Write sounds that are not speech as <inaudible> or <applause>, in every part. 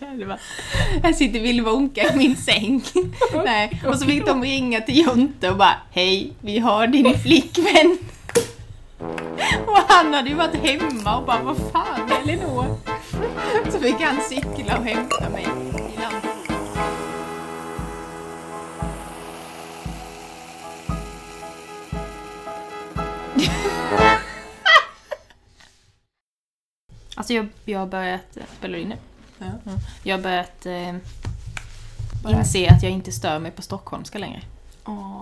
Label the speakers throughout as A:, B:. A: själva.
B: Här sitter Willy Wonka i min säng. Nej. Och så fick de ringa till Jonte och bara Hej, vi har din flickvän. Och han hade ju varit hemma och bara Vad fan Elinor? Så fick han cykla och hämta mig i landet. <laughs> Alltså jag, jag har börjat, spelar in nu?
A: Ja.
B: Jag har börjat eh,
A: Bara-
B: inse att jag inte stör mig på stockholmska längre.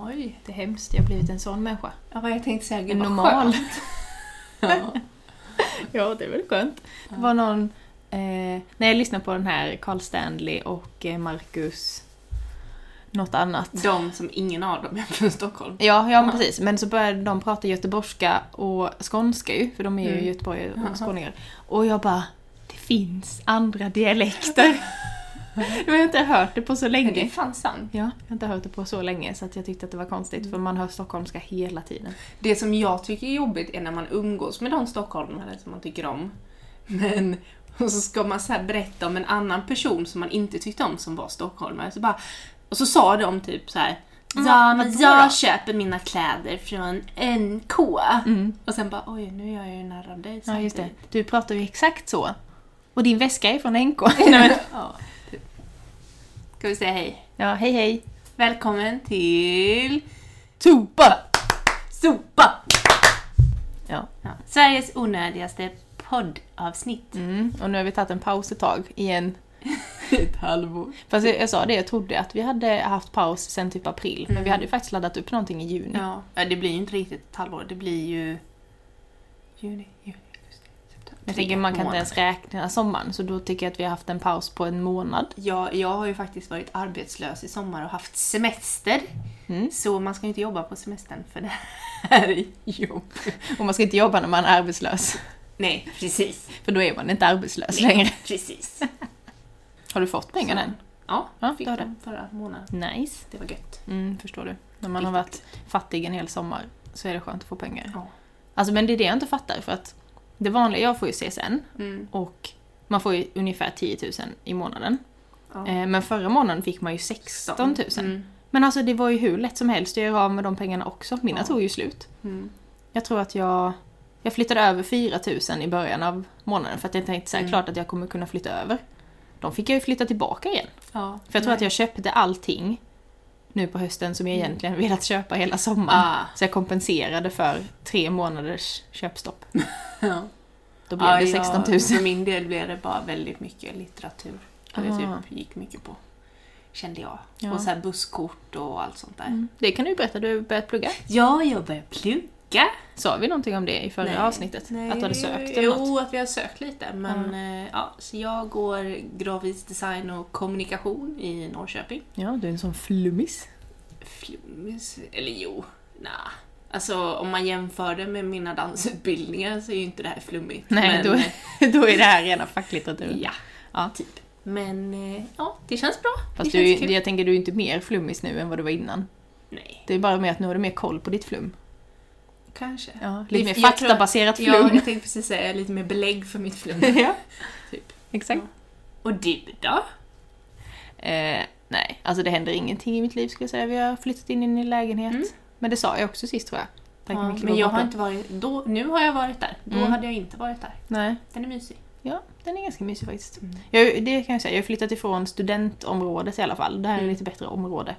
A: Oj.
B: Det är hemskt, jag har blivit en sån människa.
A: Ja, jag tänkte säga
B: En
A: gud vad
B: normal.
A: skönt. <laughs> Ja.
B: ja, det är väl skönt. Det var någon... Eh, när jag lyssnade på den här Carl Stanley och eh, Marcus... Något annat.
A: De som ingen av dem är från Stockholm.
B: Ja, ja men precis. Men så började de prata göteborgska och skånska ju, för de är ju
A: Mm.
B: göteborgare
A: Jaha.
B: och skåningar. Och jag bara, det finns andra <laughs> dialekter. Men jag har inte hört det på så
A: Men Det är
B: länge.
A: fan sant.
B: Ja, jag har inte hört det på så länge så att jag tyckte att det var konstigt för man hör stockholmska hela tiden.
A: Det som jag tycker är jobbigt är när man umgås med de stockholmare som man tycker om. Men och så ska man så här berätta om en annan person som man inte tyckte om som var stockholmare. Så bara, och så sa de typ så här. Ja,
B: Mm,
A: men
B: vadå då?"
A: jag köper mina kläder från NK.
B: Mm.
A: Och sen bara, oj nu är jag ju nära dig
B: Ja, just det.
A: samtidigt."
B: Du pratar ju exakt så. Och din väska är från NK. <laughs> Nej, men,
A: ja, typ. Ska vi säga hej?
B: ja, hej hej.
A: Välkommen till
B: Sopa!
A: Sopa!
B: Ja.
A: Ja. Sveriges onödigaste
B: <laughs>
A: poddavsnitt.
B: Mm. Och nu har vi tagit en paus ett tag igen.
A: Ett halvår.
B: Fast jag, jag sa det, jag trodde att vi hade haft paus sen typ april. Men vi
A: Mm.
B: hade ju faktiskt laddat upp någonting i juni.
A: Ja, ja, det blir ju inte riktigt ett halvår. Det blir ju... Juni, juli, augusti, september.
B: Jag
A: Tre
B: tänker man kan inte
A: månader.
B: ens räkna sommaren, så då tycker jag att vi har haft en paus på en månad.
A: Ja, jag har ju faktiskt varit arbetslös i sommar och haft semester.
B: Mm.
A: Så man ska ju inte jobba på semestern för det här <laughs> är jobb.
B: Och man ska inte jobba när man är arbetslös,
A: Nej, precis.
B: för då är man inte arbetslös
A: Nej,
B: längre. <laughs>
A: Precis.
B: Har du fått pengarna än?
A: Ja,
B: Ja,
A: fick
B: det har
A: dem förra månaden.
B: Nice.
A: Det var gött.
B: Mm, förstår du. När man har varit fattig en hel sommar så är det skönt att få pengar.
A: Ja.
B: Alltså men det är det jag inte fattar, för att det vanliga, jag får ju CSN
A: Mm,
B: och man får ju ungefär 10 000 i månaden.
A: ja.
B: Eh, Men förra månaden fick man ju 16 000.
A: Mm,
B: Men alltså det var ju hur lätt som helst att göra av med de pengarna också. Mina
A: Ja.
B: tog ju slut.
A: mm.
B: Jag tror att jag... Jag flyttade över 4000 i början av månaden för att jag tänkte såhär,
A: Mm.
B: klart att jag kommer kunna flytta över. De fick jag ju flytta tillbaka igen.
A: Ja.
B: För jag tror att jag köpte allting nu på hösten som jag egentligen velat köpa hela sommaren.
A: Mm. Ah.
B: Så jag kompenserade för tre månaders köpstopp.
A: Ja.
B: Då blev det 16 000.
A: Ah, Ja, för min del blev det bara väldigt mycket litteratur. Och det
B: Ah.
A: typ gick mycket på. Kände jag.
B: Ja.
A: Och så här busskort och allt sånt där.
B: Mm. Det kan du ju berätta, du har börjat plugga.
A: Ja, jag började plugga.
B: Sa vi någonting om det i förra
A: Nej.
B: avsnittet?
A: Nej,
B: att du hade sökt eller
A: Jo,
B: något?
A: att vi har sökt lite. Men eh, ja, så jag går grafisk design och kommunikation i Norrköping.
B: Ja, du är en sån flummis.
A: Flummis? Eller jo, nah. Alltså om man jämför det med mina dansutbildningar så är ju inte det här flummigt.
B: Nej,
A: men, eh,
B: då, <laughs> då är det här rena facklitteraturen.
A: Ja,
B: Ja.
A: typ. Men eh, ja, det känns bra.
B: Fast
A: det
B: du,
A: känns
B: är-
A: kul.
B: jag tänker du är inte mer flummis nu än vad du var innan.
A: Nej,
B: Det är bara med att nu har du mer koll på ditt flum.
A: kanske.
B: lite mer
A: Jag tror att-
B: faktabaserat
A: Ja,
B: flum.
A: jag tänkte precis säga lite mer belägg för mitt
B: <laughs>
A: flum.
B: Ja,
A: typ.
B: exakt.
A: Och du då?
B: Eh, nej, alltså det händer ingenting i mitt liv skulle jag säga. Vi har flyttat in i en ny lägenhet.
A: Mm.
B: Men det sa jag också sist tror jag. Tack
A: Ja,
B: mycket
A: men
B: för
A: jag
B: borta.
A: har inte varit... Då, nu har jag varit där. Då
B: Mm.
A: hade jag inte varit där.
B: Nej,
A: Den är mysig.
B: ja, den är ganska mysig faktiskt.
A: Mm.
B: Jag, det kan jag säga, jag har flyttat ifrån studentområdet i alla fall. Det här är
A: Mm.
B: lite bättre område.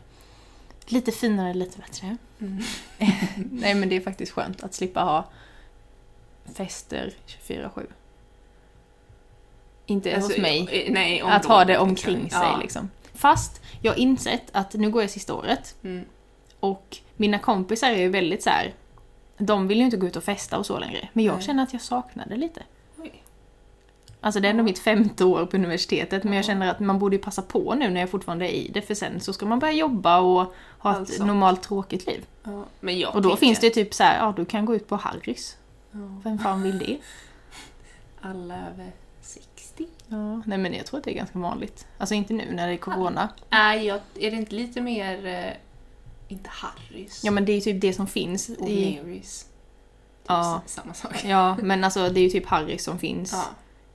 B: Lite finare, lite bättre. Mm. <laughs> Nej men det är faktiskt skönt att slippa ha fester 24-7. Inte
A: Alltså,
B: hos mig.
A: eh, Nej,
B: Att ha det omkring
A: området.
B: sig
A: Ja.
B: liksom. Fast jag har insett att nu går jag sista året
A: Mm.
B: och mina kompisar är ju väldigt så här. de vill ju inte gå ut och festa och så längre. Men jag
A: Nej.
B: känner att jag saknar det lite.
A: Oj.
B: Alltså det är ändå
A: Ja.
B: mitt femte år på universitetet men jag
A: Ja.
B: känner att man borde ju passa på nu när jag fortfarande är i det för sen så ska man börja jobba och ha ett
A: Alltså.
B: normalt tråkigt liv.
A: Ja, men jag
B: Och då
A: tänker-
B: finns det typ så här, ja du kan gå ut på Harrys.
A: Ja,
B: Vem fan vill det?
A: Alla över
B: Mm.
A: 60.
B: Ja, nej men jag tror att det är ganska vanligt. Alltså inte nu när det är corona.
A: Nej, jag, är det inte lite mer... eh, Inte Harrys.
B: Ja men det är ju typ det som finns
A: Och
B: i...
A: Marys. Typ
B: Ja.
A: s- samma sak.
B: Ja, men alltså det är ju typ Harrys som finns
A: <laughs> Ja.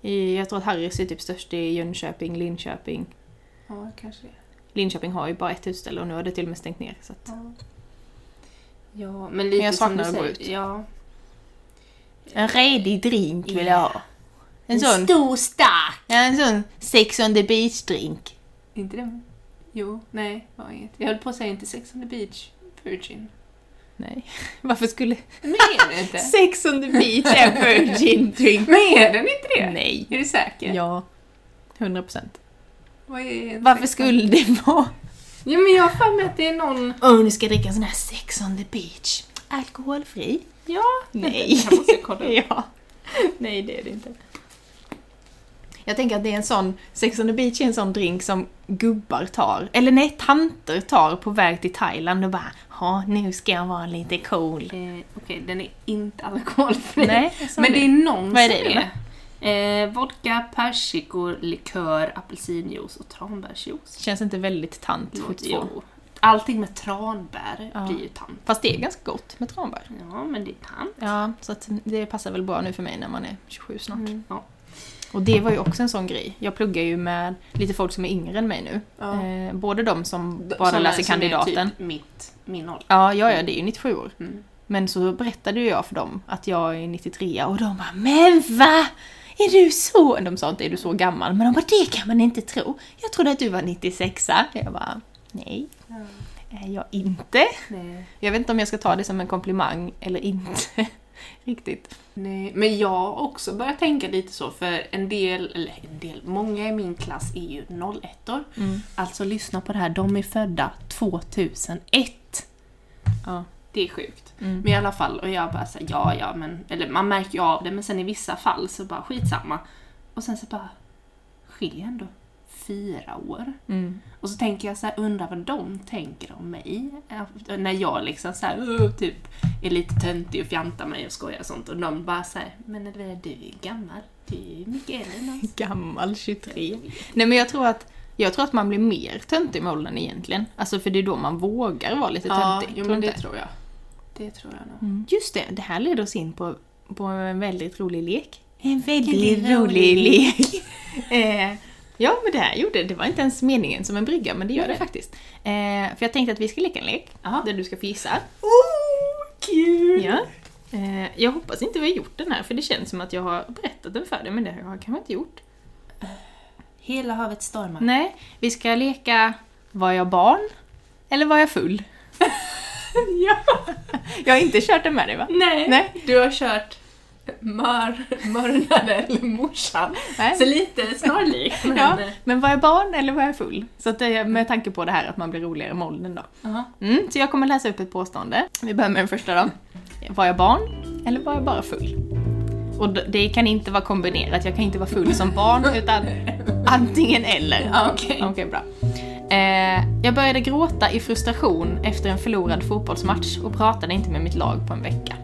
B: I, jag tror att Harrys är typ störst i Jönköping, Linköping.
A: Ja, kanske det.
B: Linköping har ju bara ett husställe och nu har det till och med stängt ner. Så att,
A: Ja. Ja, men lite
B: jag
A: som du
B: saknar att gå
A: säger.
B: ut.
A: Ja.
B: en redig drink vill jag ha. En sån,
A: stor stark!
B: ja, en sån sex on the beach drink.
A: Inte det? Jo, nej, var inget. Jag höll på att säga inte Sex on the beach, Virgin. <laughs>
B: Nej, varför skulle...
A: Men är det <laughs> inte?
B: Sex on the beach är virgin drink.
A: Men är den inte det?
B: Nej.
A: Är du säker?
B: Ja, 100 procent.
A: Vad är en
B: Varför
A: sex-
B: skulle det vara...
A: Ja, men jag har för mig att det är någon...
B: Åh, nu ska jag dricka en sån här sex on the beach. Alkoholfri?
A: Ja,
B: Nej.
A: Det här måste jag kolla upp.
B: <laughs> ja. Nej, det är det inte. Jag tänker att det är en sån, Sex on the beach är en sån drink som gubbar tar, eller nej, tanter tar på väg till Thailand och bara ja, nu ska jag vara lite cool.
A: Eh, Okej, den är inte alkoholfri.
B: Nej, jag sa
A: men
B: det.
A: Alltså, det är någon
B: Vad är det
A: som
B: då?
A: är det. Eh, vodka, persikor, likör, apelsinjuice och tranbärsjuice.
B: Känns inte väldigt tant 72.
A: Jo. Allting med tranbär
B: Ja.
A: blir ju tant.
B: Fast det är ganska gott med tranbär.
A: Ja, men det är tant.
B: Ja, så att det passar väl bra nu för mig när man är 27 snart.
A: Mm. Ja.
B: Och det var ju också en sån grej. Jag pluggar ju med lite folk som är yngre än mig nu.
A: Ja.
B: Eh, både de som bara
A: Såna
B: läser
A: som är
B: kandidaten.
A: Typ mitt, min ålder.
B: Ja, ja, ja, det är ju 97 år.
A: Mm.
B: Men så berättade ju jag för dem att jag är 93 och de bara Men va? Är du så? De sa inte är du så gammal? Men de bara det kan man inte tro. Jag trodde att du var 96 Jag bara nej, är jag inte.
A: Nej.
B: Jag vet inte om jag ska ta det som en komplimang eller inte. <laughs> Riktigt.
A: Nej, men jag har också börjat tänka lite så, för en del, eller en del, många i min klass är ju 01 or
B: Mm.
A: Alltså lyssna på det här, de är födda 2001.
B: Ja.
A: Det är sjukt.
B: Mm.
A: Men i alla fall, och jag bara såhär, ja ja, men, eller man märker ju av det, men sen i vissa fall så bara skitsamma. Och sen så bara, skiljer ändå fyra år.
B: Mm.
A: Och så tänker jag så här, undrar vad de tänker om mig? Äh, När jag liksom så här, "Åh", typ är lite töntig och fjantar mig och skojar och sånt. Och de bara så här, men du är du gammal, du är mycket äldre än oss.
B: Gammal 23. Nej men jag tror att jag tror att man blir mer töntig med åldern egentligen. Alltså för det är då man vågar vara lite
A: Ja,
B: töntig.
A: jo,
B: tror
A: men
B: du
A: det
B: inte?
A: tror jag. Det tror jag nog.
B: Mm. Just det, det här leder oss in på, på en väldigt rolig lek. En väldigt
A: Väldigt
B: rolig
A: rolig
B: lek. <laughs> eh, ja, men det här gjorde, det var inte ens meningen som en brygga, men det gör det faktiskt. Eh, för jag tänkte att vi ska leka en lek,
A: Jaha.
B: där du ska få gissa.
A: Oh, kul!
B: Ja. Eh, jag hoppas inte vi har gjort den här, för det känns som att jag har berättat den för dig, men det har jag kanske inte gjort.
A: Hela havet stormar.
B: Nej, vi ska leka Var jag barn? Eller var jag full?
A: Ja.
B: Jag har inte kört den med dig va?
A: Nej.
B: Nej.
A: du har kört mör, mörnade eller morsan.
B: Nej.
A: Så lite snarlikt. Men,
B: Ja, men var jag barn eller var jag full? Så att det, är med tanke på det här att man blir roligare med åldern då.
A: Jaha.
B: Mm, så jag kommer läsa upp ett påstående. Vi börjar med den första då. Var jag barn eller var jag bara full? Och d- det kan inte vara kombinerat, jag kan inte vara full som barn utan antingen eller.
A: Ja, okej.
B: Okej, bra. Eh, jag började gråta i frustration efter en förlorad fotbollsmatch och pratade inte med mitt lag på en vecka.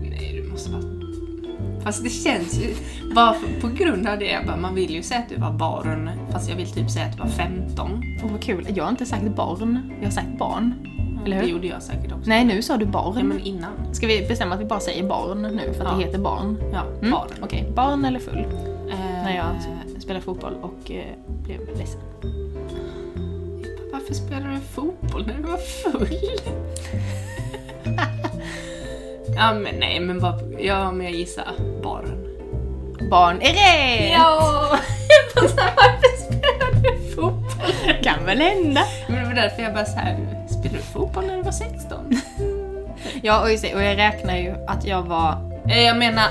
A: Nej, du måste vara... Fast det känns ju... Bara för, på grund av det, jag bara, man vill ju säga att du var barn, fast jag vill typ säga att du var 15.
B: Åh vad kul, jag har inte sagt barn, jag har sagt barn. Eller
A: Det
B: hur?
A: gjorde jag säkert också.
B: Nej, nu sa du
A: Ja,
B: barn.
A: men innan.
B: Ska vi bestämma att vi bara säger barn nu för att det
A: Ja.
B: heter barn?
A: Ja,
B: Mm.
A: barn.
B: Okej, barn eller full?
A: Eh,
B: När jag spelade fotboll och eh, blev ledsen.
A: Varför spelar du fotboll när du var full? <laughs> ja, men nej, men bara... Ja, men jag gissar barn.
B: Barn är rätt!
A: Ja! Varför spelar du fotboll?
B: Kan väl hända.
A: Men det var därför jag bara såhär, spelar du fotboll när du var 16?
B: Ja, och just det, och jag räknar ju att jag var...
A: Eh, Jag menar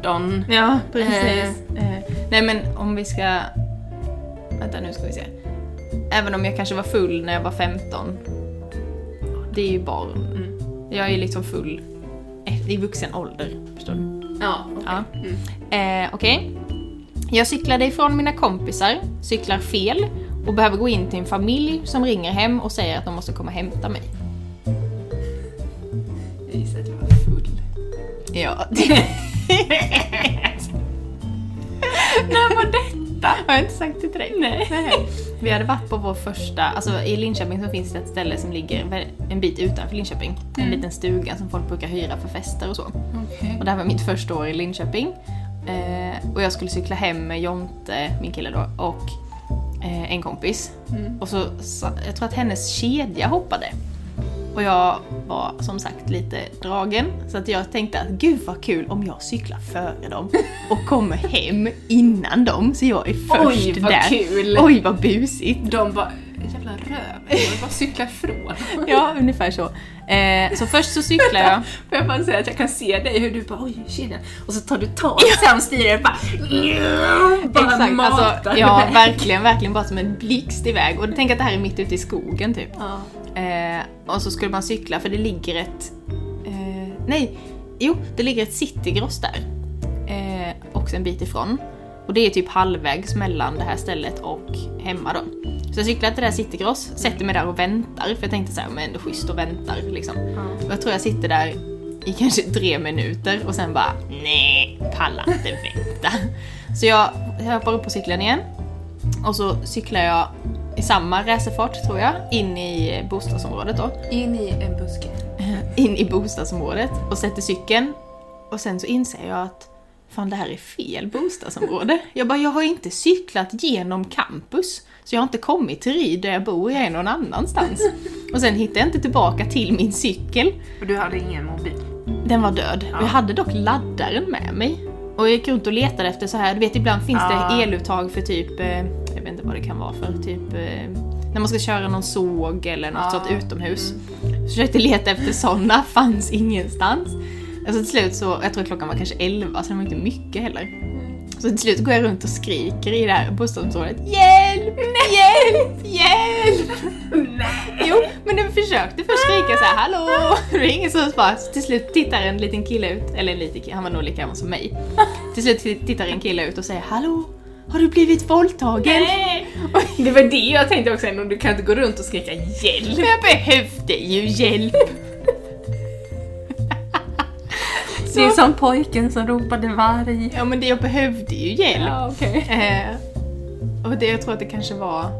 A: 18.
B: Ja, Eh. Nej men om vi ska... Vänta nu ska vi se. Även om jag kanske var full när jag var 15. Det är ju barn.
A: Mm.
B: Jag är ju liksom full e- i vuxen ålder. Förstår du?
A: Ja, okej.
B: Ja.
A: Mm.
B: Eh, Okej. Jag cyklade ifrån mina kompisar, cyklar fel och behöver gå in till en familj som ringer hem och säger att de måste komma och hämta mig.
A: Jag gissar att jag var full.
B: Ja. <laughs> När var detta?
A: borta.
B: Har jag inte sagt det till dig?
A: Nej.
B: Vi hade varit på vår första, alltså i Linköping så finns det ett ställe som ligger vä- en bit utanför Linköping. En liten stuga som folk brukar hyra för fester och så.
A: Okej.
B: Och det här var mitt första år i Linköping. Eh, och jag skulle cykla hem med Jonte, min kille då, och eh, en kompis.
A: Mm.
B: Och så, sa- jag tror att hennes kedja hoppade. Och jag var som sagt lite dragen, så att jag tänkte att gud vad kul om jag cyklar före dem och kommer hem innan dem, så jag är först
A: Oj, vad
B: där.
A: kul.
B: Oj vad busigt!
A: De bara, jävla röv. De bara cyklar <laughs> från.
B: Ja, ungefär så. Eh, så först så cyklar jag.
A: Får jag bara säga att jag kan se dig hur du bara oj kedjan och så tar du tag i samstyret <laughs> bara, bara
B: Exakt, alltså,
A: matar
B: ja,
A: iväg.
B: verkligen, verkligen bara som en blixt iväg. Och tänk att det här är mitt ute i skogen typ.
A: Ja.
B: Eh, och så skulle man cykla för det ligger ett... Eh, nej, jo, det ligger ett citygross där. Eh, också en bit ifrån. Och det är typ halvvägs mellan det här stället och hemma då. Så jag cyklar till det här citygross, sätter mig där och väntar. För jag tänkte så här, men ändå schysst och väntar liksom. Och jag tror jag sitter där i kanske tre minuter och sen bara nej, pallar inte vänta. Så jag jag hoppar upp på cykeln igen och så cyklar jag i samma racerfart tror jag in i bostadsområdet då.
A: In i en buske.
B: In i bostadsområdet och sätter cykeln och sen så inser jag att fan det här är fel bostadsområde. Jag bara, jag har inte cyklat genom campus så jag har inte kommit till Ryd där jag bor, jag är någon annanstans. Och sen hittar jag inte tillbaka till min cykel
A: Och du hade ingen mobil?
B: den var död. Och jag hade dock laddaren med mig. Och jag gick runt och letade efter så här. du vet ibland finns
A: Ah.
B: det eluttag för typ, eh, jag vet inte vad det kan vara för, typ eh, när man ska köra någon såg eller något
A: Ah,
B: sånt utomhus. Försökte leta efter sådana, <laughs> fanns ingenstans. Alltså till slut så, jag tror klockan var kanske 11 så det var inte mycket heller. Så till slut går jag runt och skriker i det här bostadsområdet Hjälp! Hjälp! Hjälp!
A: Nej!
B: Jo, men den försökte först skrika så här hallå! Det är ingen som svarar. Så Till slut tittar en liten kille ut, eller en liten kille, han var nog lika gammal som mig. Till slut t- tittar en kille ut och säger hallå! Har du blivit våldtagen?
A: Det var det jag tänkte också, ändå, du kan inte gå runt och skrika hjälp.
B: Men jag behövde ju hjälp! Så,
A: Det är som pojken som ropade varg.
B: Ja men det, jag behövde ju hjälp!
A: Ja, okej.
B: Eh, och det, jag tror att det kanske var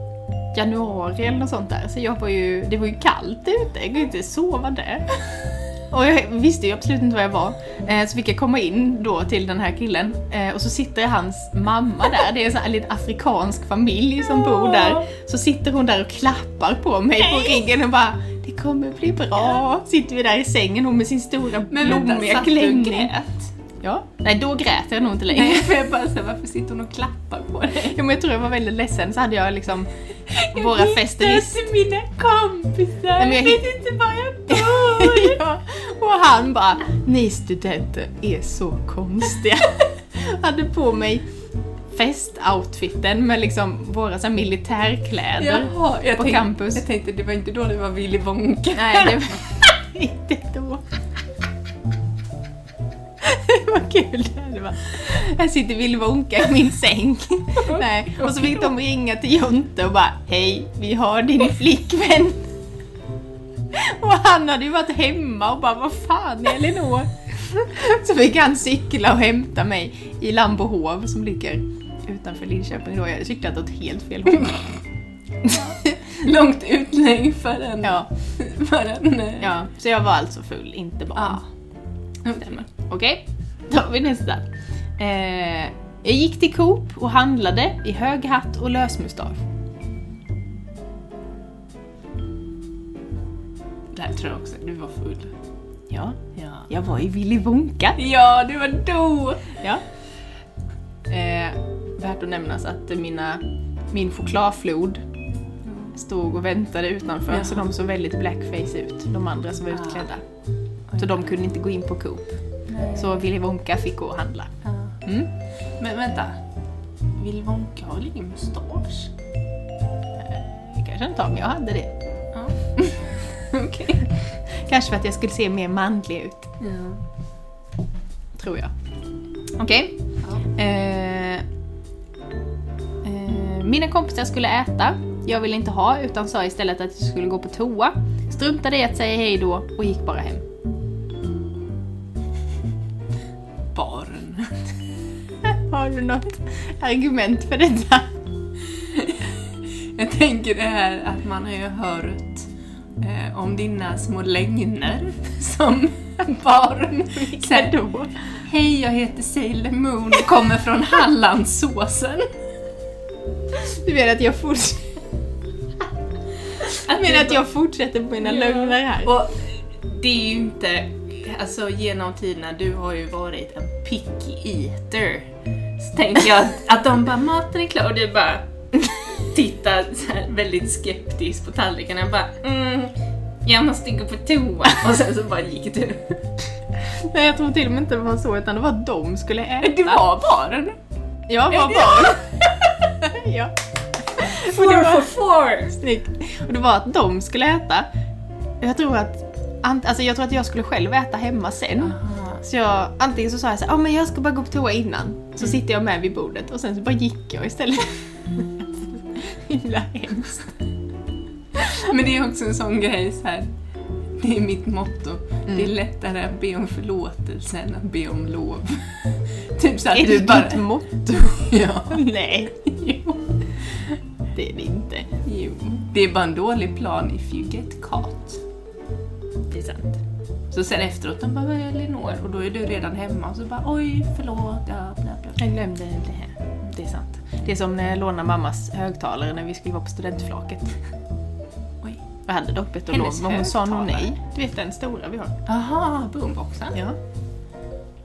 B: januari eller något sånt där. Så jag var ju, det var ju kallt ute, jag kunde inte sova där. Och jag visste ju absolut inte var jag var. Eh, så fick jag komma in då till den här killen. Eh, och så sitter hans mamma där, det är en sån här liten afrikansk familj som bor där. Så sitter hon där och klappar på mig på ryggen och bara Det kommer bli bra. Sitter vi där i sängen hon med sin stora
A: Men vänta,
B: blommiga
A: satt du och
B: klänning.
A: grät?
B: Ja. Nej, då grät jag nog inte längre.
A: Nej, <laughs> för jag bara såhär, varför sitter hon och klappar på dig?
B: <laughs> Jo, men jag tror jag var väldigt ledsen så hade jag liksom våra fester
A: Jag
B: list.
A: till mina kompisar,
B: Nej, men jag
A: jag vet inte var jag
B: <laughs>
A: bor.
B: ja. Och han bara, ni studenter är så konstiga. <laughs> hade på mig festoutfiten med liksom våra så här militärkläder.
A: Jaha, jag
B: På
A: tänkte,
B: campus.
A: Jag tänkte det var inte då det var Willy Wonka.
B: Nej, det var <laughs> inte då. Det var kul det hade varit. Här sitter Willy Wonka i min säng. Nej. Och så fick de ringa till Jonte och bara Hej, vi har din flickvän. Och han hade ju varit hemma och bara Vad fan Elinor? Så fick han cykla och hämta mig i Lambohov som ligger utanför Linköping då. Jag hade cyklat åt helt fel <laughs> håll.
A: <laughs> Långt utlägg för en... <laughs>
B: Ja,
A: För en eh,
B: ja. Så jag var alltså full, inte barn.
A: Ja.
B: Stämmer. Okej, då har vi nästa. Eh, jag gick till Coop och handlade i hög hatt och lösmustasch.
A: Det här tror jag också, du var full.
B: Ja,
A: Ja.
B: jag var i Willy Wonka.
A: Ja, det var då!
B: Ja. Eh, värt att nämnas att mina, min chokladflod stod och väntade utanför
A: Jaha.
B: så de såg väldigt blackface ut, de andra som var
A: Ah.
B: utklädda. Så de kunde inte gå in på Coop. Så Willy Wonka fick gå och handla.
A: Ja.
B: Mm.
A: Men vänta. Willy Wonka har väl ingen mustasch?
B: Kanske inte har, men jag hade det.
A: Ja. <laughs> Okej.
B: Kanske för att jag skulle se mer manlig ut.
A: Ja.
B: Tror jag. Okej. Eh, eh, mina kompisar skulle äta. Jag ville inte ha utan sa istället att jag skulle gå på toa. Struntade i att säga hej då och gick bara hem. <laughs>
A: Barn.
B: Har Har du något argument för detta?
A: Jag tänker det här att man har ju hört eh, om dina små lögner som barn. Så här,
B: då?
A: Hej, jag heter Sailor Moon och kommer från Hallandsåsen.
B: Du menar att jag fortsätter?
A: <laughs> Att
B: Du menar
A: det
B: att jag fortsätter på mina
A: Ja.
B: lögner här?
A: Och det är ju inte, alltså genom tiderna, du har ju varit en picky eater. Så tänker jag att, att de bara, maten är klar och du bara tittar så här väldigt skeptiskt på tallriken och bara, mm, jag måste gå på toa. Och sen så bara gick du.
B: Nej jag tror till och med inte det var så utan det var att de skulle äta.
A: Du var barn.
B: Jag var
A: Ja. <laughs>
B: barn. ja. Och det
A: Four for
B: var
A: four.
B: snyggt. Och det var att de skulle äta. Jag tror att, ant- alltså jag tror att jag skulle själv äta hemma sen. Så jag, antingen så sa jag så här, ah, men jag ska bara gå på toa innan. Så sitter jag med vid bordet och sen så bara gick jag istället. <laughs> Himla hemskt.
A: Men det är också en sån grej så här. Det är mitt motto. Det
B: Mm.
A: är lättare att be om förlåtelse än att be om lov. <laughs> typ så att
B: Är
A: du
B: det
A: bara...
B: ditt motto?
A: <laughs> Ja.
B: Nej,
A: Jo.
B: det är det inte.
A: jo. Det är bara en dålig plan if you get caught.
B: Det är sant.
A: Så sen efteråt, de bara "Vad är Elinor? Och då är du redan hemma och så bara oj, förlåt, ja, bla bla.
B: Jag glömde det här. Det är sant. Det är som när jag lånade mammas högtalare när vi skulle vara på studentflaket.
A: Oj.
B: Jag hade dock bett om lov,
A: Hennes
B: men hon sa nog
A: högtalare?
B: nej. Du vet den stora vi har.
A: Aha, boomboxen.
B: Ja.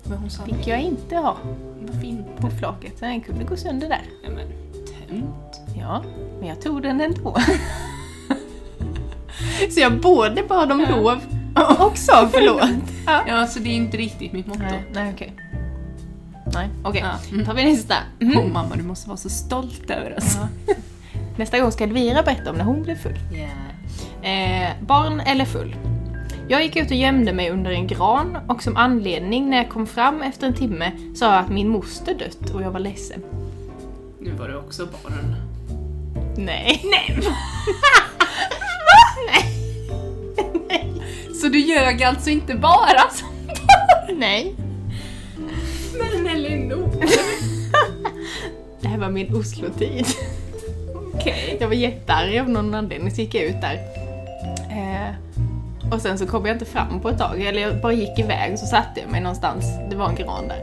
A: Men hon sa
B: Fick jag inte ha
A: varför inte?
B: på flaket, så den kunde gå sönder där.
A: Nej men, tönt.
B: Ja, men jag tog den ändå. <laughs> så jag både bad om
A: Ja.
B: lov och sa
A: <laughs>
B: förlåt. Ja.
A: Ja, så det är inte riktigt mitt motto.
B: Nej, nej okej. Nej, okej.
A: Ja.
B: Då tar vi nästa. Mm.
A: Åh mamma, du måste vara så stolt över oss.
B: Nästa gång ska Elvira berätta om när hon blev full. Eh, barn eller full? Jag gick ut och gömde mig under en gran och som anledning när jag kom fram efter en timme sa jag att min moster dött och jag var ledsen.
A: Nu var du också barn.
B: Nej. <laughs>
A: Nej!
B: Nej. <laughs>
A: Så du ljög alltså inte bara som barn?
B: Nej.
A: Men Elinor!
B: Det här var min Oslo-tid.
A: <laughs> Okej.
B: Jag var jättearg av någon anledning så gick jag ut där. Eh, och sen så kom jag inte fram på ett tag, eller jag bara gick iväg och så satte jag mig någonstans. Det var en gran där.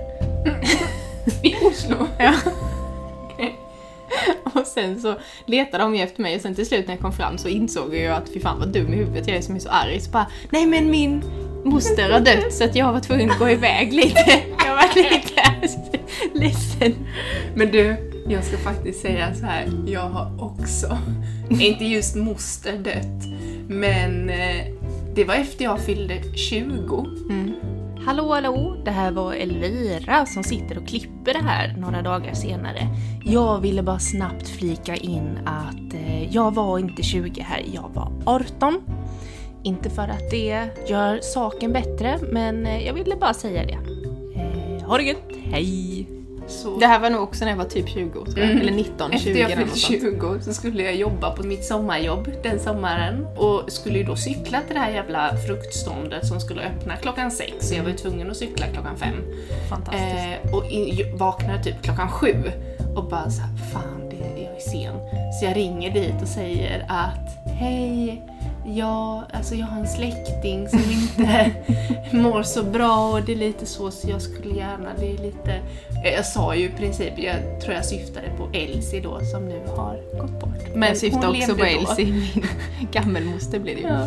A: <laughs> I Oslo.
B: <laughs> Ja.
A: Okej.
B: Och sen så letade de ju efter mig och sen till slut när jag kom fram så insåg jag att fy fan vad dum i huvudet jag är som är så arg. Så bara, nej men min moster har dött så att jag var tvungen att gå iväg
A: <laughs>
B: lite. Jag var lite <laughs> ledsen.
A: Men du, jag ska faktiskt säga så här. jag har också, <laughs> inte just moster dött, men eh, det var efter jag fyllde 20.
B: Mm. Hallå hallå, det här var Elvira som sitter och klipper det här några dagar senare. Jag ville bara snabbt flika in att eh, jag var inte 20 här, jag var 18. Inte för att det gör saken bättre, men eh, jag ville bara säga det. Eh, ha det gött, hej!
A: Så
B: Det här var nog också när jag var typ 20 tror jag,
A: Mm.
B: eller 19, 20
A: efter jag
B: eller
A: fyllde
B: något sånt.
A: 20 så skulle jag jobba på mitt sommarjobb den sommaren och skulle ju då cykla till det här jävla fruktståndet som skulle öppna klockan sex så jag var ju tvungen att cykla klockan fem.
B: Fantastiskt.
A: Eh, och in, vaknar typ klockan sju och bara så här, fan det, jag är sen. Så jag ringer dit och säger att hej, jag, alltså jag har en
B: <laughs>
A: släkting som inte <laughs> mår så bra och det är lite så så jag skulle gärna, det är lite... Eh, Jag sa ju i princip, jag tror jag syftade på Elsie då som nu har gått bort. Men
B: jag syftade
A: hon
B: också på
A: levde då.
B: Elsie, min <laughs> gammelmoster blev det ju.
A: <laughs> Ja.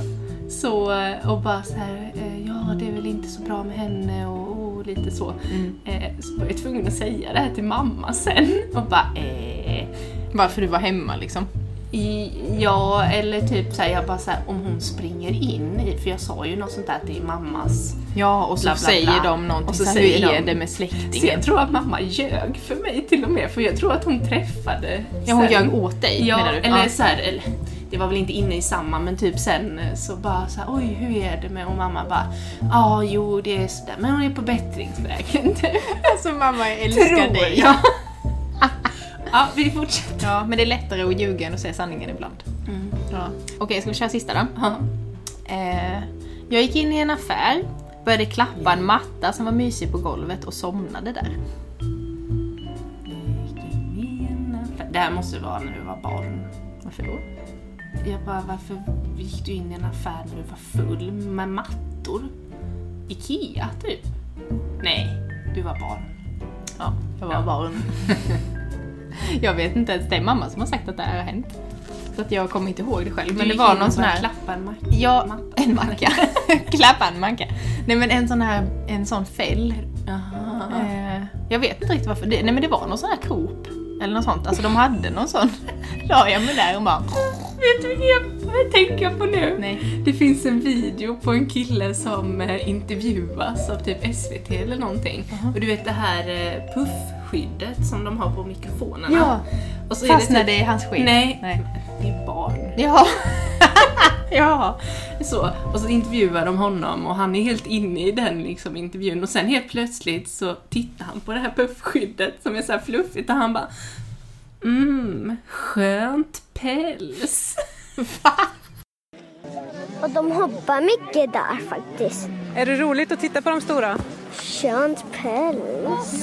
A: Så, eh, och bara så här, eh, ja det är väl inte så bra med henne och, och lite så.
B: Mm.
A: Eh, Så var jag tvungen att säga det här till mamma sen och bara eh,
B: Varför du var hemma liksom.
A: i, ja eller typ såhär jag bara såhär om hon springer in i, för jag sa ju något sånt där till mammas.
B: Ja, och så
A: Bla, bla, bla.
B: Typ säger de någonting
A: Och så
B: så här,
A: säger
B: hur är
A: de-
B: det med
A: Så
B: släktingen?
A: jag tror att mamma ljög för mig till och med för jag tror att hon träffade.
B: Ja, hon
A: sen-
B: ljög åt dig
A: Ja,
B: menar du?
A: eller så här, eller, det var väl inte inne i samma men typ sen eh, så bara så här, oj hur är det med och mamma bara ja jo det är sådär men hon är på bättringsvägen. <laughs>
B: Alltså mamma jag
A: Tror jag. ja <laughs> Mm. vi fortsätter.
B: Ja, men det är lättare att ljuga än att säga sanningen ibland. Ja. Okej, ska vi köra sista då?
A: Ja.
B: Eh, jag gick in i en affär, började klappa en matta som var mysig på golvet och somnade där.
A: Det här måste vara när du var barn.
B: Varför då?
A: Jag bara, varför gick du in i en affär när du var full med mattor? Ikea typ? Nej, du var barn.
B: Ja, jag var barn. <laughs> jag vet inte ens, det är mamma som har sagt att det här har hänt. Så att jag kommer inte ihåg det själv. Men
A: Du
B: det
A: gick
B: var
A: in
B: någon
A: och
B: sån
A: bara
B: här...
A: Klappa en macka.
B: Ja,
A: matta.
B: en macka. <laughs> Klappa en macka. Nej men en sån här, en sån fäll.
A: Aha.
B: Eh, jag vet inte riktigt varför. Det, nej men det var någon sån här Coop. Eller något sånt. Alltså de hade någon sån. <laughs> La jag mig där och bara...
A: Vet du vad jag börjar tänka på nu?
B: Nej.
A: Det finns en video på en kille som eh, intervjuas av typ SVT eller någonting.
B: Aha.
A: Och du vet det här eh, puffskyddet som de har på mikrofonerna.
B: Ja,
A: Och så är
B: fastnade
A: det
B: i hans skinn.
A: typ, Nej,
B: nej.
A: det är barn.
B: Ja.
A: <laughs>
B: ja.
A: Så, och så intervjuar de honom och han är helt inne i den liksom, intervjun och sen helt plötsligt så tittar han på det här puffskyddet som är så här fluffigt och han bara Mm, skönt päls. <laughs>
C: Och de hoppar mycket där faktiskt.
D: Är det roligt att titta på de stora?
C: Skönt päls.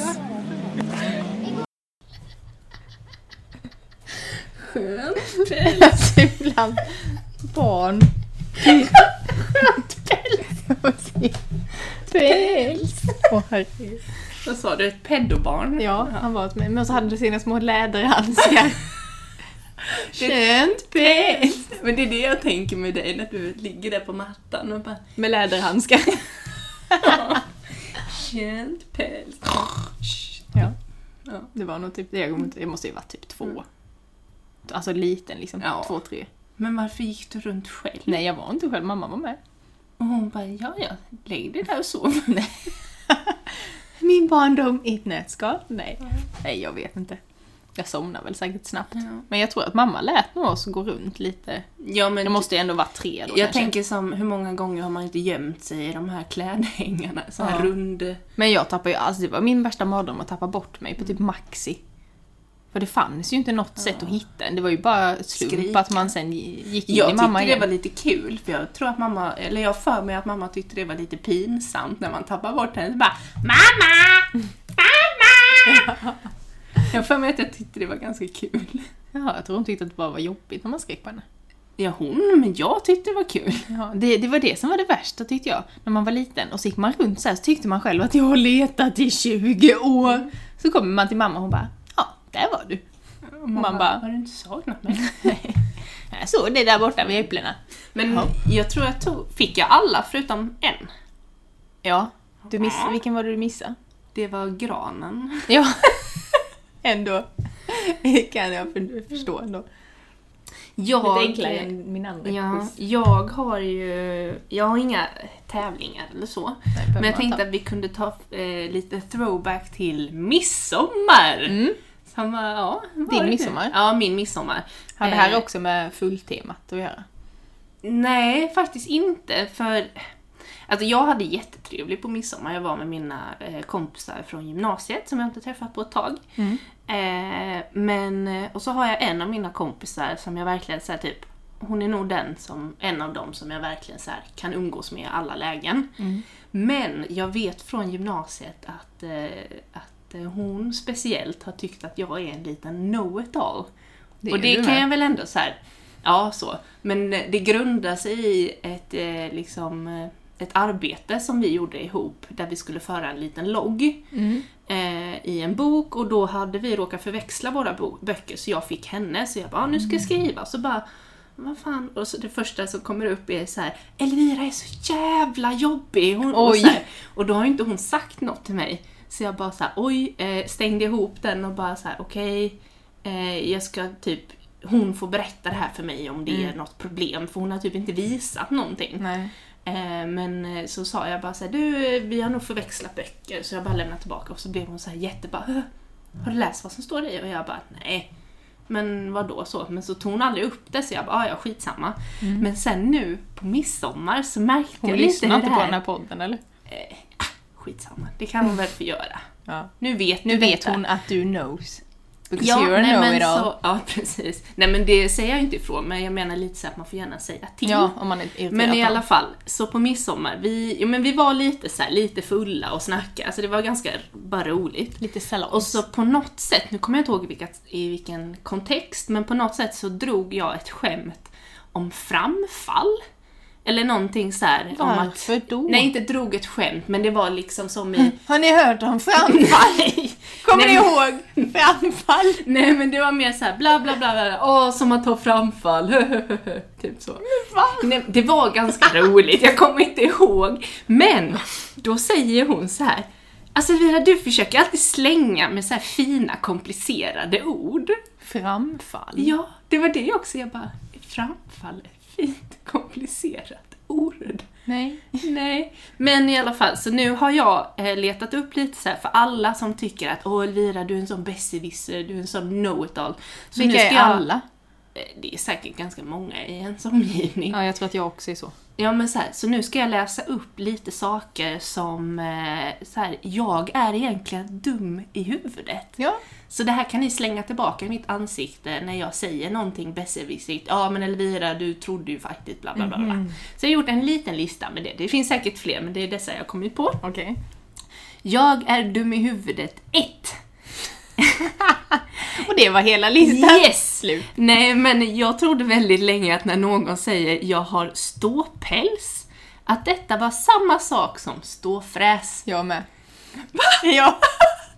A: Skönt
B: Alltså ibland... <laughs> Barn. Skönt päls. Päls. Åh herregud.
A: Vad sa du? Ett peddobarn?
B: Ja, han var ett med. Men så hade de sina små läderhandskar. <laughs> Skönt päls.
A: Men det är det jag tänker med dig när du ligger där på mattan och bara
B: Med läderhandskar.
A: Skönt päls.
B: Ja.
A: Ja.
B: Det var nog typ det. Jag, kommer inte- jag måste ju vara typ två. Alltså liten liksom.
A: Ja.
B: Två, tre.
A: Men varför gick du runt själv?
B: Nej, jag var inte själv. Mamma var med.
A: Och hon bara, ja ja, lägg dig där och sov.
B: Min barndom i ett nötskal? Nej. Nej, jag vet inte. Jag somnar väl säkert snabbt.
A: Ja.
B: Men jag tror att mamma lät nog oss gå runt lite.
A: Ja men
B: Det måste ju ändå vara tre då
A: Jag
B: kanske.
A: tänker som, hur många gånger har man inte gömt sig i de här klädhängarna? Så här
B: Ja.
A: rund...
B: Men jag tappade ju, alltså det var min värsta mardröm att tappa bort mig på typ
A: Mm.
B: Maxi. För det fanns ju inte något sätt att hitta en. Det var ju bara slump
A: Skrika.
B: att man sen gick in
A: Jag
B: i
A: tyckte
B: mamma
A: det
B: igen.
A: var lite kul, för jag tror att mamma, eller jag har för mig att mamma tyckte det var lite pinsamt när man tappar bort henne. Så bara MAMMA! MAMMA! <laughs> jag har för mig att jag tyckte det var ganska kul.
B: Ja, jag tror hon tyckte att det bara var jobbigt när man skrek på henne.
A: Ja hon, men jag tyckte det var kul.
B: Ja, det, det var det som var det värsta tyckte jag, när man var liten. Och så gick man runt så här så tyckte man själv att jag har letat i 20
A: Mm.
B: år. Så kommer man till mamma och hon bara, ja, där var du. <laughs>
A: Och mamma,
B: Man bara-
A: har du inte saknat mig? <laughs>
B: Jag såg det där borta vid äpplena.
A: Men
B: Ja.
A: jag tror jag tog, fick jag alla förutom en.
B: Ja, du miss, vilken var det du missade?
A: Det var granen.
B: Ja, <laughs> ändå. Det kan jag för, förstå ändå.
A: Jag,
B: Lite enklare än min andra
A: Ja,
B: quiz.
A: jag har ju jag har inga tävlingar eller så. men
B: behöver
A: jag
B: man
A: tänkte
B: ta.
A: att vi kunde ta eh, lite throwback till midsommar.
B: Mm.
A: Som, eh, ja, vad
B: Din
A: är det?
B: midsommar?
A: Ja, min midsommar.
B: Har det här
A: Eh,
B: också med fulltemat att göra?
A: Nej, faktiskt inte. För alltså, jag hade jättetrevligt på midsommar. Jag var med mina eh, kompisar från gymnasiet som jag inte träffat på ett tag.
B: Mm.
A: Eh, men, eh, och så har jag en av mina kompisar som jag verkligen så här, typ hon är nog den som, en av dem som jag verkligen så här, kan umgås med i alla lägen.
B: Mm.
A: Men jag vet från gymnasiet att, eh, att eh, hon speciellt har tyckt att jag är en liten know-it-all.
B: Det
A: och
B: är
A: det
B: du
A: kan
B: med.
A: jag väl ändå så här, ja så. Men eh, det grundar sig i ett, eh, liksom, eh, ett arbete som vi gjorde ihop där vi skulle föra en liten logg eh, i en bok och då hade vi råkat förväxla våra bo- böcker så jag fick henne så jag bara "Ah, nu ska jag skriva så bara vad fan? Och så det första som kommer upp är så här Elvira är så jävla jobbig! Hon, och,
B: Oj.
A: så här, <laughs> och då har ju inte hon sagt något till mig. Så jag bara så här, oj, eh, stängde ihop den och bara så här, okej, eh, jag ska typ, hon får berätta det här för mig om det är något problem, för hon har typ inte visat någonting.
B: Mm. Nej.
A: Eh, Men eh, så sa jag bara såhär, du eh, vi har nog förväxlat böcker, så jag bara lämnade tillbaka och så blev hon såhär jättebra. "Hö? Har du läst vad som står i? Och jag bara, nej. Men vad då så? Men så tog hon aldrig upp det så jag bara, "Ah, ja skitsamma. Men sen nu på midsommar så märkte
B: Mm. Hon
A: jag lite
B: lyssnar
A: hur
B: inte
A: det
B: på den
A: här...
B: här podden eller?
A: Skitsamma, det kan hon väl få göra.
B: Ja.
A: Nu vet
B: Nu
A: du
B: vet
A: detta.
B: hon att du knows. Because you're a
A: nej, men
B: know-it-all.
A: så- Ja, precis. Nej men det säger jag ju inte ifrån, men jag menar lite så att man får gärna säga till.
B: Ja, om man är irriterad
A: Men i
B: på
A: alla
B: honom.
A: fall, så på midsommar, vi, jo, men vi var lite så här, lite fulla och snackade, alltså det var ganska bara roligt.
B: Lite salongs.
A: Och så på något sätt, nu kommer jag inte ihåg i vilka, i vilken kontext, men på något sätt så drog jag ett skämt om framfall. Eller någonting så här om att...
B: Varför då?
A: Nej, inte drog ett skämt, men det var liksom
B: <laughs>
A: som i...
B: Har ni hört om <laughs> framfall?
A: Nej!
B: Kommer
A: Nej,
B: ni
A: men-
B: ihåg? Framfall?
A: Nej men det var mer såhär bla bla bla, bla, bla. åh som att ta framfall, <laughs> typ så. Nej, det var ganska roligt, jag kommer inte ihåg. Men då säger hon så här. Alltså Elvira, du försöker alltid slänga med så här fina komplicerade ord.
B: Mm. Framfall?
A: Ja, det var det jag också, jag bara, framfall, ett fint komplicerat ord.
B: Nej.
A: Nej, men i alla fall, så nu har jag eh, letat upp lite så här för alla som tycker att åh Elvira, du är en sån besserwisser, du är en sån know-it-all. Så nu
B: Vilka
A: ska
B: är
A: jag-
B: alla?
A: Eh, Det är säkert ganska många i ens omgivning.
B: Ja, jag tror att jag också är så.
A: Ja men så här, så nu ska jag läsa upp lite saker som eh, så här, jag är egentligen dum i huvudet.
B: Ja.
A: Så det här kan ni slänga tillbaka i mitt ansikte när jag säger någonting besserwissrigt. Ja men Elvira, du trodde ju faktiskt bla bla bla. bla.
B: Mhm.
A: Så jag har gjort en liten lista med det. Det finns säkert fler men det är dessa jag har kommit på.
B: Okej.
A: Jag är dum i huvudet 1.
B: Och det var hela listan.
A: Yes!
B: Slut.
A: Nej, men jag trodde väldigt länge att när någon säger jag har ståpäls, att detta var samma sak som ståfräs.
B: Jag med. <laughs> Ja.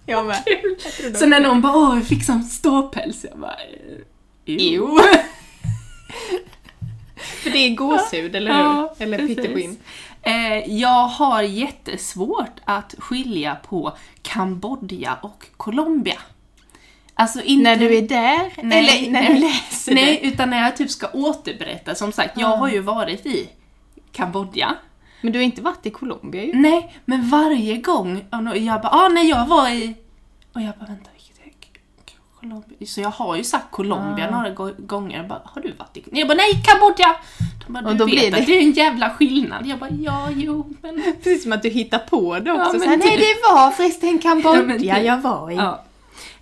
B: Jag med.
A: <laughs> Så när någon bara åh, jag fick sån ståpäls, jag bara eh,
B: Jo. <laughs> För det är gåshud, eller hur?
A: Ja,
B: eller
A: precis.
B: pyttebrinn.
A: Eh, jag har jättesvårt att skilja på Kambodja och Colombia. Alltså inte...
B: När du är där,
A: Nej,
B: eller när du läser
A: Nej,
B: det.
A: utan när jag typ ska återberätta. Som sagt, jag har ju varit i Kambodja.
B: Men du har inte varit i Colombia ju.
A: Nej, men varje gång och nå- jag bara, ah nej jag var i... Och jag bara, vänta vilket är K- K- Colombia? Så jag har ju sagt Colombia några go- gånger, jag bara, har du varit i... Nej, Jag bara, nej Kambodja! De bara, du
B: Och då
A: vet
B: blir det-
A: att det är en jävla skillnad. Jag bara, ja jo men...
B: Precis som att du hittar på det också.
A: men
B: så här,
A: typ.
B: Nej, det var förresten
A: Ja, men
B: Kambodja
A: typ.
B: jag var i.
A: Ja.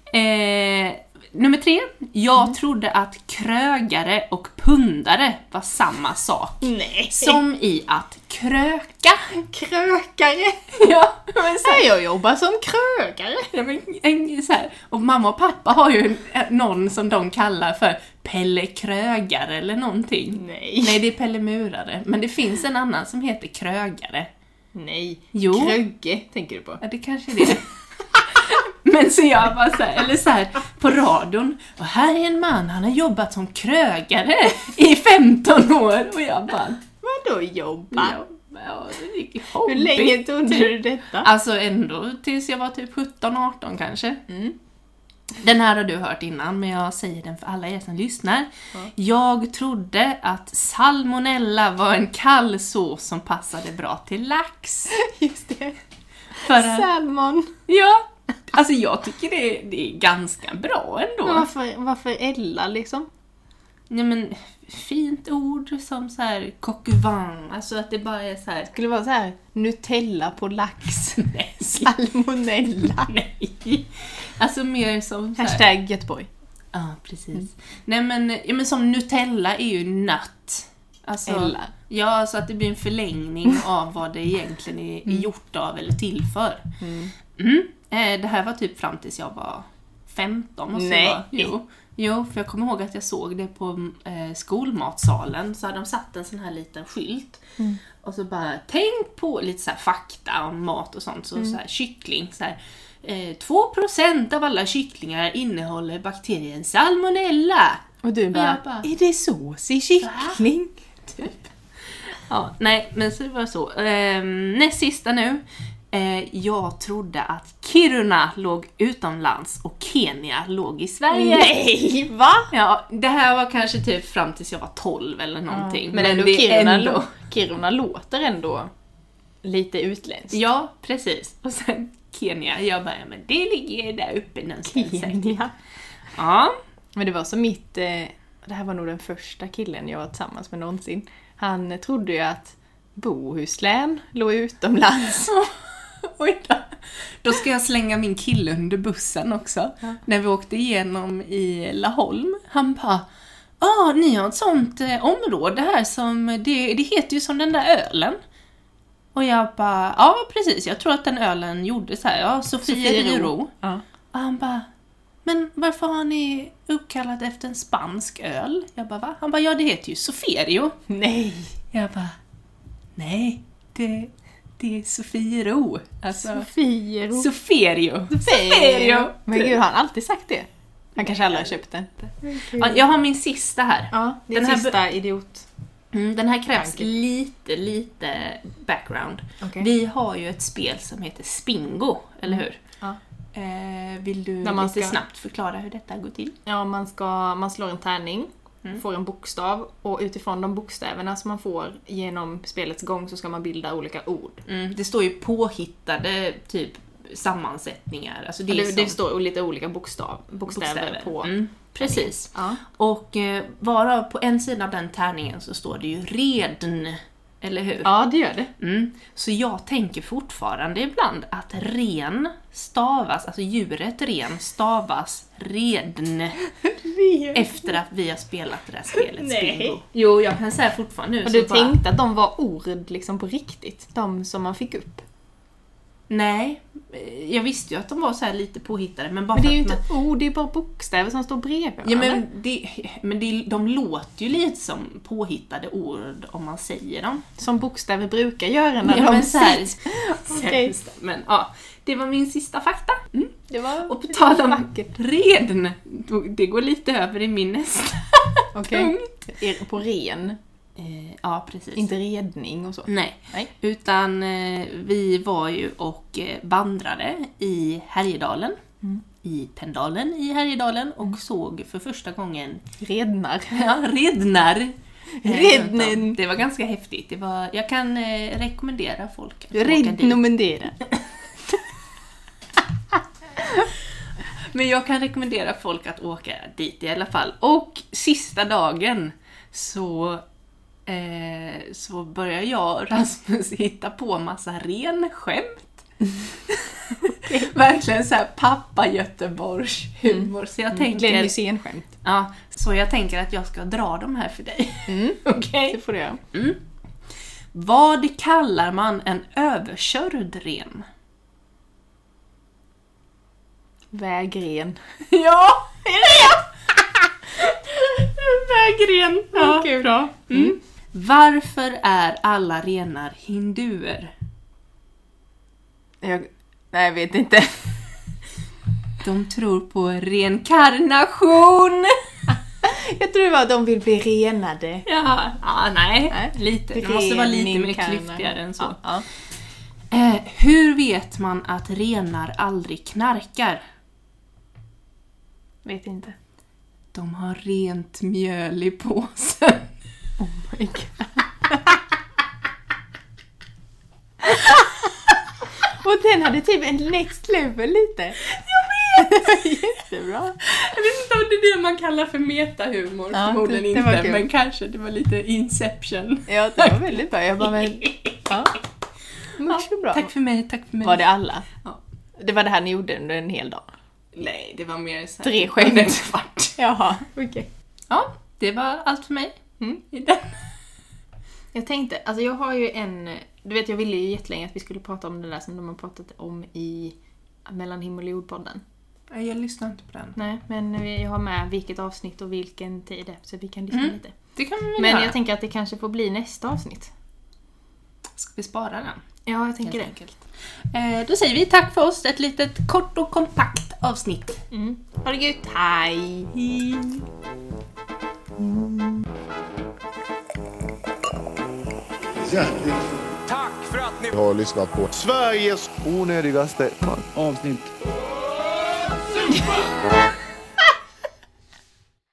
A: Eh, nummer tre, jag trodde att krögare och pundare var samma sak.
B: Nej.
A: Som i att
B: <laughs>
A: kröka.
B: krökare.
A: Ja, men så
B: Nej, jag jobbar som krökare.
A: Ja, men, en, så här, och mamma och pappa har ju en, en- någon som de kallar för Pelle Krögare eller någonting.
B: Nej.
A: Nej, det är Pelle Murare. Men det finns en annan som heter Krögare.
B: Nej.
A: Jo.
B: Krögge tänker du på.
A: Ja, det kanske är <laughs> det. Men så jag bara så här, eller så här på radion. Och här är en man, han har jobbat som krögare i 15 år. Och jag bara...
B: Vadå jobba?
A: Ja, ja, det är
B: Hur
A: hobby.
B: länge trodde du detta?
A: Alltså ändå tills jag var typ 17-18 kanske.
B: Mm.
A: Den här har du hört innan, men jag säger den för alla er som lyssnar. Jag trodde att salmonella var en kall sås som passade bra till lax.
B: Just det.
A: För att,
B: Salmon.
A: ja, alltså jag tycker det, det är ganska bra ändå.
B: Men varför, varför Ella liksom?
A: Nej men, fint ord som så här coq au vin, alltså att det bara är så här.
B: Skulle vara så här Nutella på lax.
A: <laughs> Nej,
B: Salmonella.
A: nej. Alltså mer som så här.
B: Hashtag Göteborg.
A: Ja, precis. Nej men, ja, men som Nutella är ju nöt. Alltså,
B: Ella.
A: Ja, alltså att det blir en förlängning av vad det egentligen är är gjort av eller till för. Mm. Eh, det här var typ fram tills jag var 15 och så
B: Nej.
A: var- Jo. jo, för jag kommer ihåg att jag såg det på eh, skolmatsalen, så hade de satt en sån här liten skylt. Och så bara, tänk på lite så här fakta om mat och sånt, så, så här, kyckling. Så här, eh, 2% av alla kycklingar innehåller bakterien salmonella.
B: Och du bara,
A: jag bara-
B: är det sås i kyckling?
A: Ja, nej, men så det var så. Ehm, näst sista nu. Eh, jag trodde att Kiruna låg utomlands och Kenya låg i Sverige.
B: Nej, va?
A: Ja, det här var kanske typ fram tills jag var 12 eller någonting.
B: Men, ändå,
A: det är
B: Kiruna, ändå. Kiruna låter ändå lite utländskt.
A: Ja, precis. Och sen Kenya, jag bara, ja, men det ligger där uppe någonstans. säkert.
B: Kenya.
A: Ja.
B: Men det var som mitt, eh, det här var nog den första killen jag var tillsammans med någonsin. <laughs> Han trodde ju att Bohuslän låg utomlands.
A: Oj då. Då ska jag slänga min kille under bussen också. När vi åkte igenom i Laholm, han bara Ja, ni har ett sånt eh, område här som, det, det heter ju som den där ölen. Och jag bara, ja precis, jag tror att den ölen gjordes här, ja, Sofiero.
B: Ja.
A: Och han bara, men varför har ni uppkallat efter en spansk öl? Jag bara, va? Han bara, ja det heter ju Soferio.
B: Nej!
A: Jag bara, nej, det, det är Sofiero. Alltså,
B: Sofiero.
A: Soferio. Soferio!
B: Mm. Men gud, har han aldrig sagt det? Han kanske aldrig har köpt den.
A: Ja, jag har min sista här.
B: Ja, det är
A: Den
B: den
A: här
B: sista idiot.
A: Mm, den här krävs
B: Tanke.
A: lite, lite background.
B: Okej.
A: Vi har ju ett spel som heter Spingo, eller hur?
B: Ja.
A: Eh, vill du
B: När man
A: lite
B: ska-
A: snabbt förklara hur detta går till?
B: Ja, man, ska, man slår en tärning, får en bokstav och utifrån de bokstäverna som man får genom spelets gång så ska man bilda olika ord.
A: Mm, det står ju påhittade typ sammansättningar. Alltså det,
B: Det,
A: är
B: det,
A: som
B: står lite olika bokstav, bokstäver, på.
A: Mm, precis.
B: Ja.
A: Och eh, varav på en sida av den tärningen så står det ju redn. Eller hur?
B: ja, det gör det.
A: Mm. Så jag tänker fortfarande ibland att ren stavas, alltså djuret ren stavas redn efter att vi har spelat det där spelet
B: Nej.
A: Spingo. Jo, jag kan säga fortfarande nu.
B: Och
A: så
B: du
A: bara,
B: tänkte att de var ord liksom på riktigt? De som man fick upp?
A: Nej, eh, jag visste ju att de var så här lite påhittade men bara
B: Men det är
A: för
B: ju
A: att
B: inte ord, det är bara bokstäver som står bredvid
A: Ja,
B: varandra.
A: men det, men det, de låter ju lite som påhittade ord om man säger dem.
B: Som bokstäver brukar göra när
A: Ja,
B: de
A: men så
B: <laughs>
A: här-
B: sägs.
A: Okej. Men ja, det var min sista fakta. Mm.
B: Det var
A: Och på tal om
B: vackert.
A: redn, det går lite över i min nästa
B: <laughs> Okej.
A: punkt.
B: Er- På ren,
A: Eh, ja, precis.
B: inte redning och så.
A: Nej.
B: Nej.
A: Utan eh, vi var ju och eh, vandrade i Härjedalen,
B: Mm.
A: i Pendalen i Härjedalen och såg för första gången
B: Rednar.
A: Ja, <laughs> rednar.
B: Rednen.
A: Det var ganska häftigt. Det var, jag kan eh, rekommendera folk att åka dit.
B: Rednomendera.
A: Men jag kan rekommendera folk att åka dit i alla fall. Och sista dagen så, eh, så börjar jag och Rasmus hitta på massa ren skämt. Verkligen såhär pappa Göteborgs humor. Så jag
B: Mm. Glenn
A: tänker...
B: Hysén-skämt.
A: Ja, så jag tänker att jag ska dra de här för dig. Okej?
B: Det får du göra.
A: Vad kallar man en överkörd ren?
B: Vägren.
A: <laughs> Ja, är det Vägren. Ja,
B: Kul.
A: bra. Mm. Varför är alla renar hinduer?
B: Jag, nej, jag vet inte.
A: De tror på renkarnation!
B: <laughs> Jag tror det var att de vill bli renade.
A: <laughs> Ja, ah, nej.
B: Nej.
A: Lite. Det måste vara lite mer
B: Renkarna.
A: klyftigare än så.
B: Ja, ja.
A: Eh, hur vet man att renar aldrig knarkar?
B: Vet inte.
A: De har rent mjöl i påsen.
B: Oh my God. <laughs> Och den hade typ en next level lite. Jag vet! <laughs> Jättebra.
A: <laughs> Jag vet inte om det är det man kallar för metahumor,
B: Ja,
A: förmodligen
B: det- det var
A: inte,
B: kul.
A: men kanske det var lite inception.
B: Ja, det var väldigt bra. Jag bara, <laughs> men... Ja. Mycket bra.
A: Tack för mig, tack för mig.
B: Var det alla?
A: Ja.
B: Det var det här ni gjorde under en hel dag?
A: Nej, det var mer så här-
B: Tre skämt.
A: Det var en kvart.
B: <laughs> Jaha, okej.
A: Ja, det var allt för mig.
B: Mm.
A: I den.
B: Jag tänkte, alltså jag har ju en... Du vet, jag ville ju jättelänge att vi skulle prata om det där som de har pratat om i Mellan himmel och jord-podden.
A: Nej, Jag lyssnar inte på den.
B: Nej, men vi- jag har med vilket avsnitt och vilken tid det är, så vi kan lyssna lite.
A: Det kan vi väl
B: Men
A: göra.
B: jag tänker att det kanske får bli nästa avsnitt.
A: Ska vi spara den?
B: Ja, jag tänker det.
A: enkelt. Eh, då säger vi tack för oss, ett litet kort och kompakt avsnitt.
B: Mm. Ha det gött, hej!
E: Tack för att ni...
F: har lyssnat på
E: Sveriges
F: onödigaste man.
G: avsnitt.